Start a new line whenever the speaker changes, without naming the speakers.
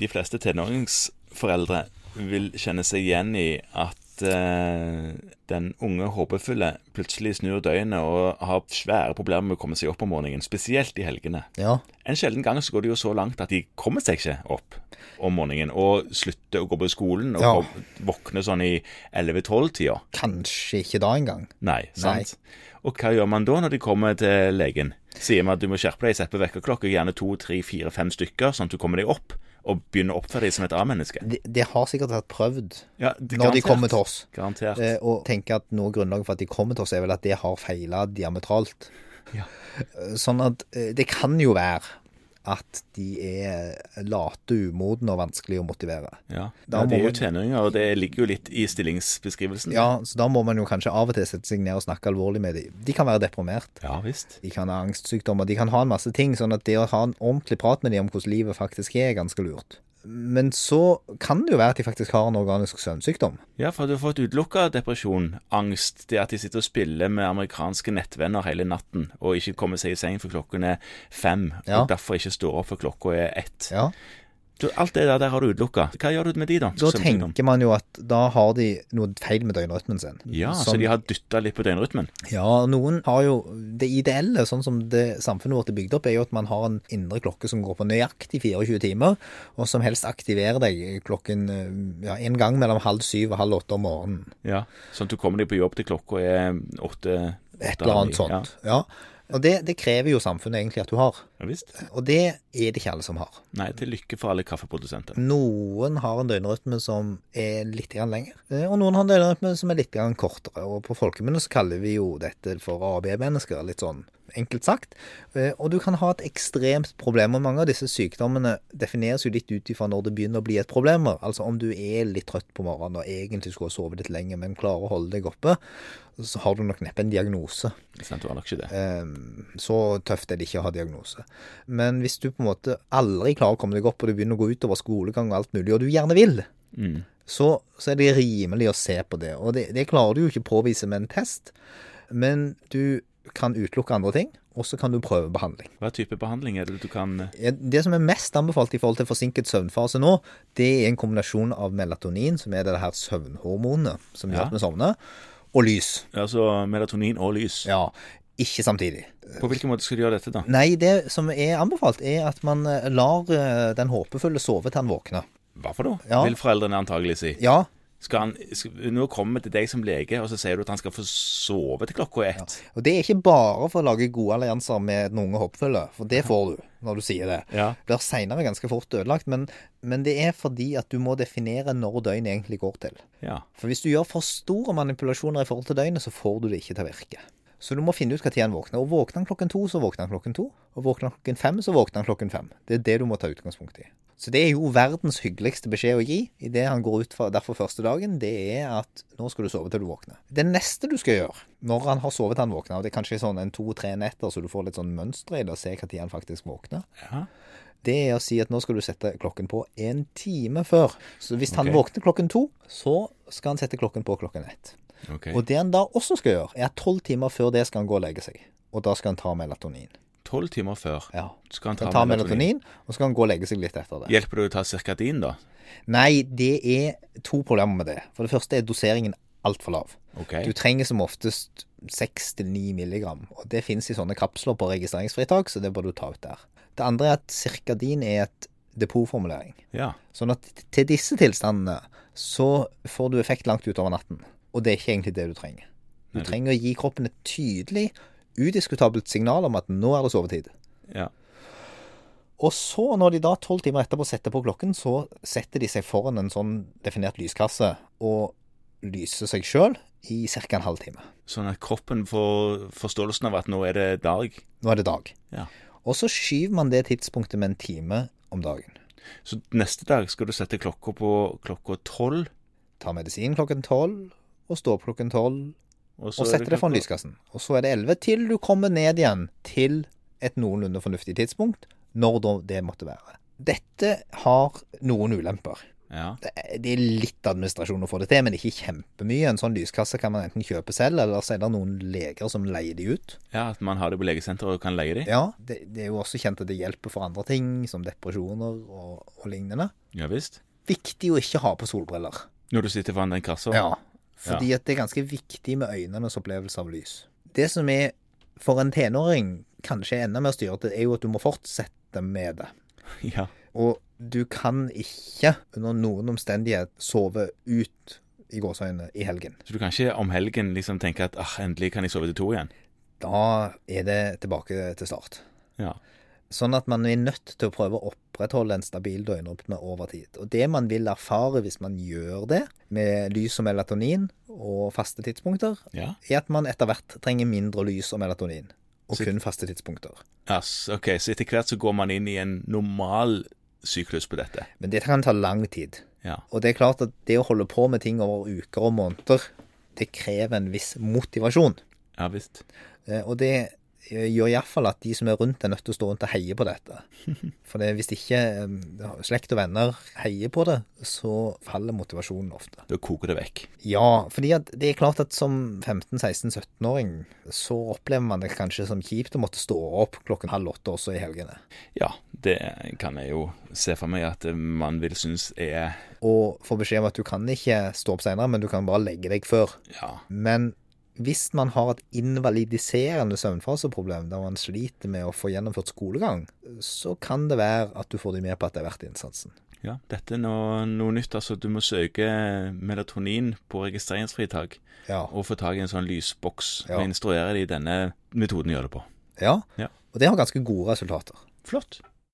de fleste tenåringsforeldre vil kjenne seg igjen i at eh, den unge håpefulle plutselig snur døgnet og har svære problemer med å komme seg opp om morgenen, spesielt i helgene.
Ja.
En sjelden gang så går det jo så langt at de kommer seg ikke opp om morgenen og slutter å gå på skolen og
Ja.
kom, våkner sånn i 11-12-tida.
Kanskje ikke da engang.
Nei, sant? Og hva gjør man da når de kommer til legen? Sier man at du må skjerpe deg, sette på vekkerklokka, gjerne to, tre, fire, fem stykker, sånn at du kommer deg opp og begynner å oppføre deg som et A-menneske?
Det de har sikkert vært prøvd
Ja, det-
når de
garantert.
kommer til oss.
Garantert.
Eh, og tenker at noe av grunnlaget for at de kommer til oss, er vel at det har feila diametralt.
Ja.
Eh, Sånn at eh, det kan jo være at de er late, umodne og vanskelig å motivere.
Ja.
Da
ja, de
må
er jo
man-
tenåringer, og det ligger jo litt i stillingsbeskrivelsen.
Ja, så da må man jo kanskje av og til sette seg ned og snakke alvorlig med dem. De kan være deprimert.
Ja, visst.
De kan ha angstsykdommer, de kan ha en masse ting, sånn at det å ha en ordentlig prat med dem om hvordan livet faktisk er, er ganske lurt. Men så kan det jo være at de faktisk har en organisk søvnsykdom.
Ja, for du har fått utelukka depresjon, angst, det at de sitter og spiller med amerikanske nettvenner hele natten og ikke kommer seg i seng for klokken er fem,
Ja.
og derfor ikke står opp for klokka er ett.
Ja.
Du, alt det der, der har du utelukka. Hva gjør du med de, da?
Da
Som sykdom?
tenker man jo at da har de noe feil med døgnrytmen sin.
Ja, så
Som-
de har dytta litt på døgnrytmen.
Ja, noen har jo Det ideelle, sånn som det samfunnet vårt er bygd opp, er jo at man har en indre klokke som går på nøyaktig 24 timer, og som helst aktiverer deg klokken eh, ja, en gang mellom halv syv og halv åtte om morgenen.
Ja. Sånn at du kommer deg på jobb til klokka er åtte.
Et eller annet sånt. Ja. Og det, det krever jo samfunnet egentlig at du har.
Ja, ja visst.
Og det er det ikke alle som har.
Nei, til lykke for alle kaffeprodusenter.
Noen har en døgnrytme som er litt grann lenger, eh, og noen har en døgnrytme som er litt grann kortere. Og på folkemunne så kaller vi jo dette for AB-mennesker, litt sånn enkelt sagt. Eh, Og du kan ha et ekstremt problem, og mange av disse sykdommene defineres jo litt ut ifra når det begynner å bli et problem. Altså om du er litt trøtt på morgenen og egentlig skulle ha sovet litt lenger, men klarer å holde deg oppe, så har du nok neppe en diagnose.
Sant, du har nok ikke det.
Ehm, Så tøft er det ikke å ha diagnose. Men hvis du på en måte aldri klarer å komme deg opp, og du begynner å gå utover skolegang og alt mulig, og du gjerne vil,
Mm.
så, så er det rimelig å se på det. Og det, det klarer du jo ikke å påvise med en test, men du kan utelukke andre ting, og så kan du prøve behandling.
Hva type behandling er det du kan eh,
Ja, Det som er mest anbefalt i forhold til forsinket søvnfase nå, det er en kombinasjon av melatonin, som er det her søvnhormonet som gjør
Ja.
at vi sovner, og lys.
Altså melatonin og lys.
Ja, ikke samtidig.
På hvilken måte skal du gjøre dette, da?
Nei, det som er anbefalt, er at man eh, lar eh, den håpefulle sove til han våkner.
Hva for noe?
Ja.
Vil foreldrene antagelig si.
Ja,
Skal han, skal, nå kommer vi til deg som lege, og så sier du at han skal få sove til klokka er ett.
og det er ikke bare for å lage gode allianser med den unge håpefulle, for det får du når du sier det.
Ja.
Blir seinere ganske fort ødelagt, men, men det er fordi at du må definere når døgnet egentlig går til.
Ja.
For hvis du gjør for store manipulasjoner i forhold til døgnet, så får du det ikke til å virke. Så du må finne ut når han våkner. Og våkner han klokken to, så våkner han klokken to. Og våkner han klokken fem, så våkner han klokken fem. Det er det du må ta utgangspunkt i. Så det er jo verdens hyggeligste beskjed å gi i det han går ut fra derfor første dagen, det er at nå skal du sove til du våkner. Det neste du skal gjøre når han har sovet til han våkner, og det er kanskje sånn en to-tre netter, så du får litt sånn mønster i det og ser når han faktisk våkner,
ja.
det er å si at nå skal du sette klokken på en time før. Så hvis han
Ok.
våkner klokken to, så skal han sette klokken på klokken ett.
Ok.
Og det han da også skal gjøre, er at tolv timer før det skal han gå og legge seg. Og da skal han ta melatonin.
Tolv timer før
Ja.
skal han
Så
ta,
han tar melatonin, og så skal han gå og legge seg litt etter det.
Hjelper det å ta Cirkadin, da?
Nei, det er to problemer med det. For det første er doseringen altfor lav.
Ok.
Du trenger som oftest 6-9 milligram, og det finnes i sånne kapsler på registreringsfritak, så det bør du ta ut der. Det andre er at cirkadin er et depotformulering.
Ja.
Sånn at til disse tilstandene så får du effekt langt utover natten. Og det er ikke egentlig det du trenger. Du
Nei, du-
trenger å gi kroppen et tydelig, udiskutabelt signal om at nå er det sovetid.
ja.
Og så, når de da tolv timer etterpå setter på klokken, så setter de seg foran en sånn definert lyskasse og lyser seg sjøl i ca. en halvtime.
Sånn at kroppen får forståelsen av at nå er det dag.
Nå er det dag.
Ja.
Og så skyver man det tidspunktet med en time om dagen.
Så neste dag skal du sette klokka på klokka tolv.
Tar medisin klokken tolv, og står opp klokken tolv,
så
og
er
setter det foran
klokka-
lyskassen. Og så er det 11 til du kommer ned igjen til et noenlunde fornuftig tidspunkt, når da det måtte være. Dette har noen ulemper.
Ja.
Det er- det er litt administrasjon å få det til, men ikke kjempemye. En sånn lyskasse kan man enten kjøpe selv, eller så er det noen leger som leier de ut.
ja, at man har det på legesenteret og kan leie de.
Ja, det, det er jo også kjent at det hjelper for andre ting, som depresjoner og, og lignende.
Ja visst.
Viktig å ikke ha på solbriller.
Når du sitter foran den kassa.
Ja, fordi at det er ganske viktig med øynenes opplevelse av lys. Det som er for en tenåring kanskje enda mer styrete, er jo at du må fortsette med det.
ja.
Og du kan ikke under noen omstendighet sove ut i gåseøynene i helgen.
Så du kan ikke om helgen liksom tenke at ah, endelig kan jeg sove til to igjen.
Da er det tilbake til start.
Ja.
Sånn at man er nødt til å prøve å opprettholde en stabil døgnrytme over tid. Og det man vil erfare hvis man gjør det, med lys og melatonin og faste tidspunkter,
ja.
er at man etter hvert trenger mindre lys og melatonin, og
Så-
kun faste tidspunkter.
Ass, ok, Så etter hvert så går man inn i en normal syklus på dette.
Men det kan ta lang tid.
Ja.
Og det er klart at det å holde på med ting over uker og måneder, det krever en viss motivasjon.
Ja visst.
Eh, Og det eh, gjør iallfall at de som er rundt, er nødt til å stå rundt og heie på dette. For det, hvis ikke eh, slekt og venner heier på det, så faller motivasjonen ofte.
Da koker det vekk.
Ja, fordi at det er klart at som 15-16-17-åring så opplever man det kanskje som kjipt å måtte stå opp klokken halv åtte også i helgene.
Ja, det kan jeg jo se for meg at eh, man vil synes er
Og får beskjed om at du kan ikke stå opp senere, men du kan bare legge deg før.
Ja.
Men hvis man har et invalidiserende søvnfaseproblem der man sliter med å få gjennomført skolegang, så kan det være at du får de med på at det er verdt innsatsen.
Ja, dette er noe, noe nytt. Altså, du må søke melatonin på registreringsfritak
Ja.
og få tak i en sånn lysboks
Ja.
og instruere de denne metoden gjør det på.
ja.
Ja.
Og det har ganske gode resultater.
Flott.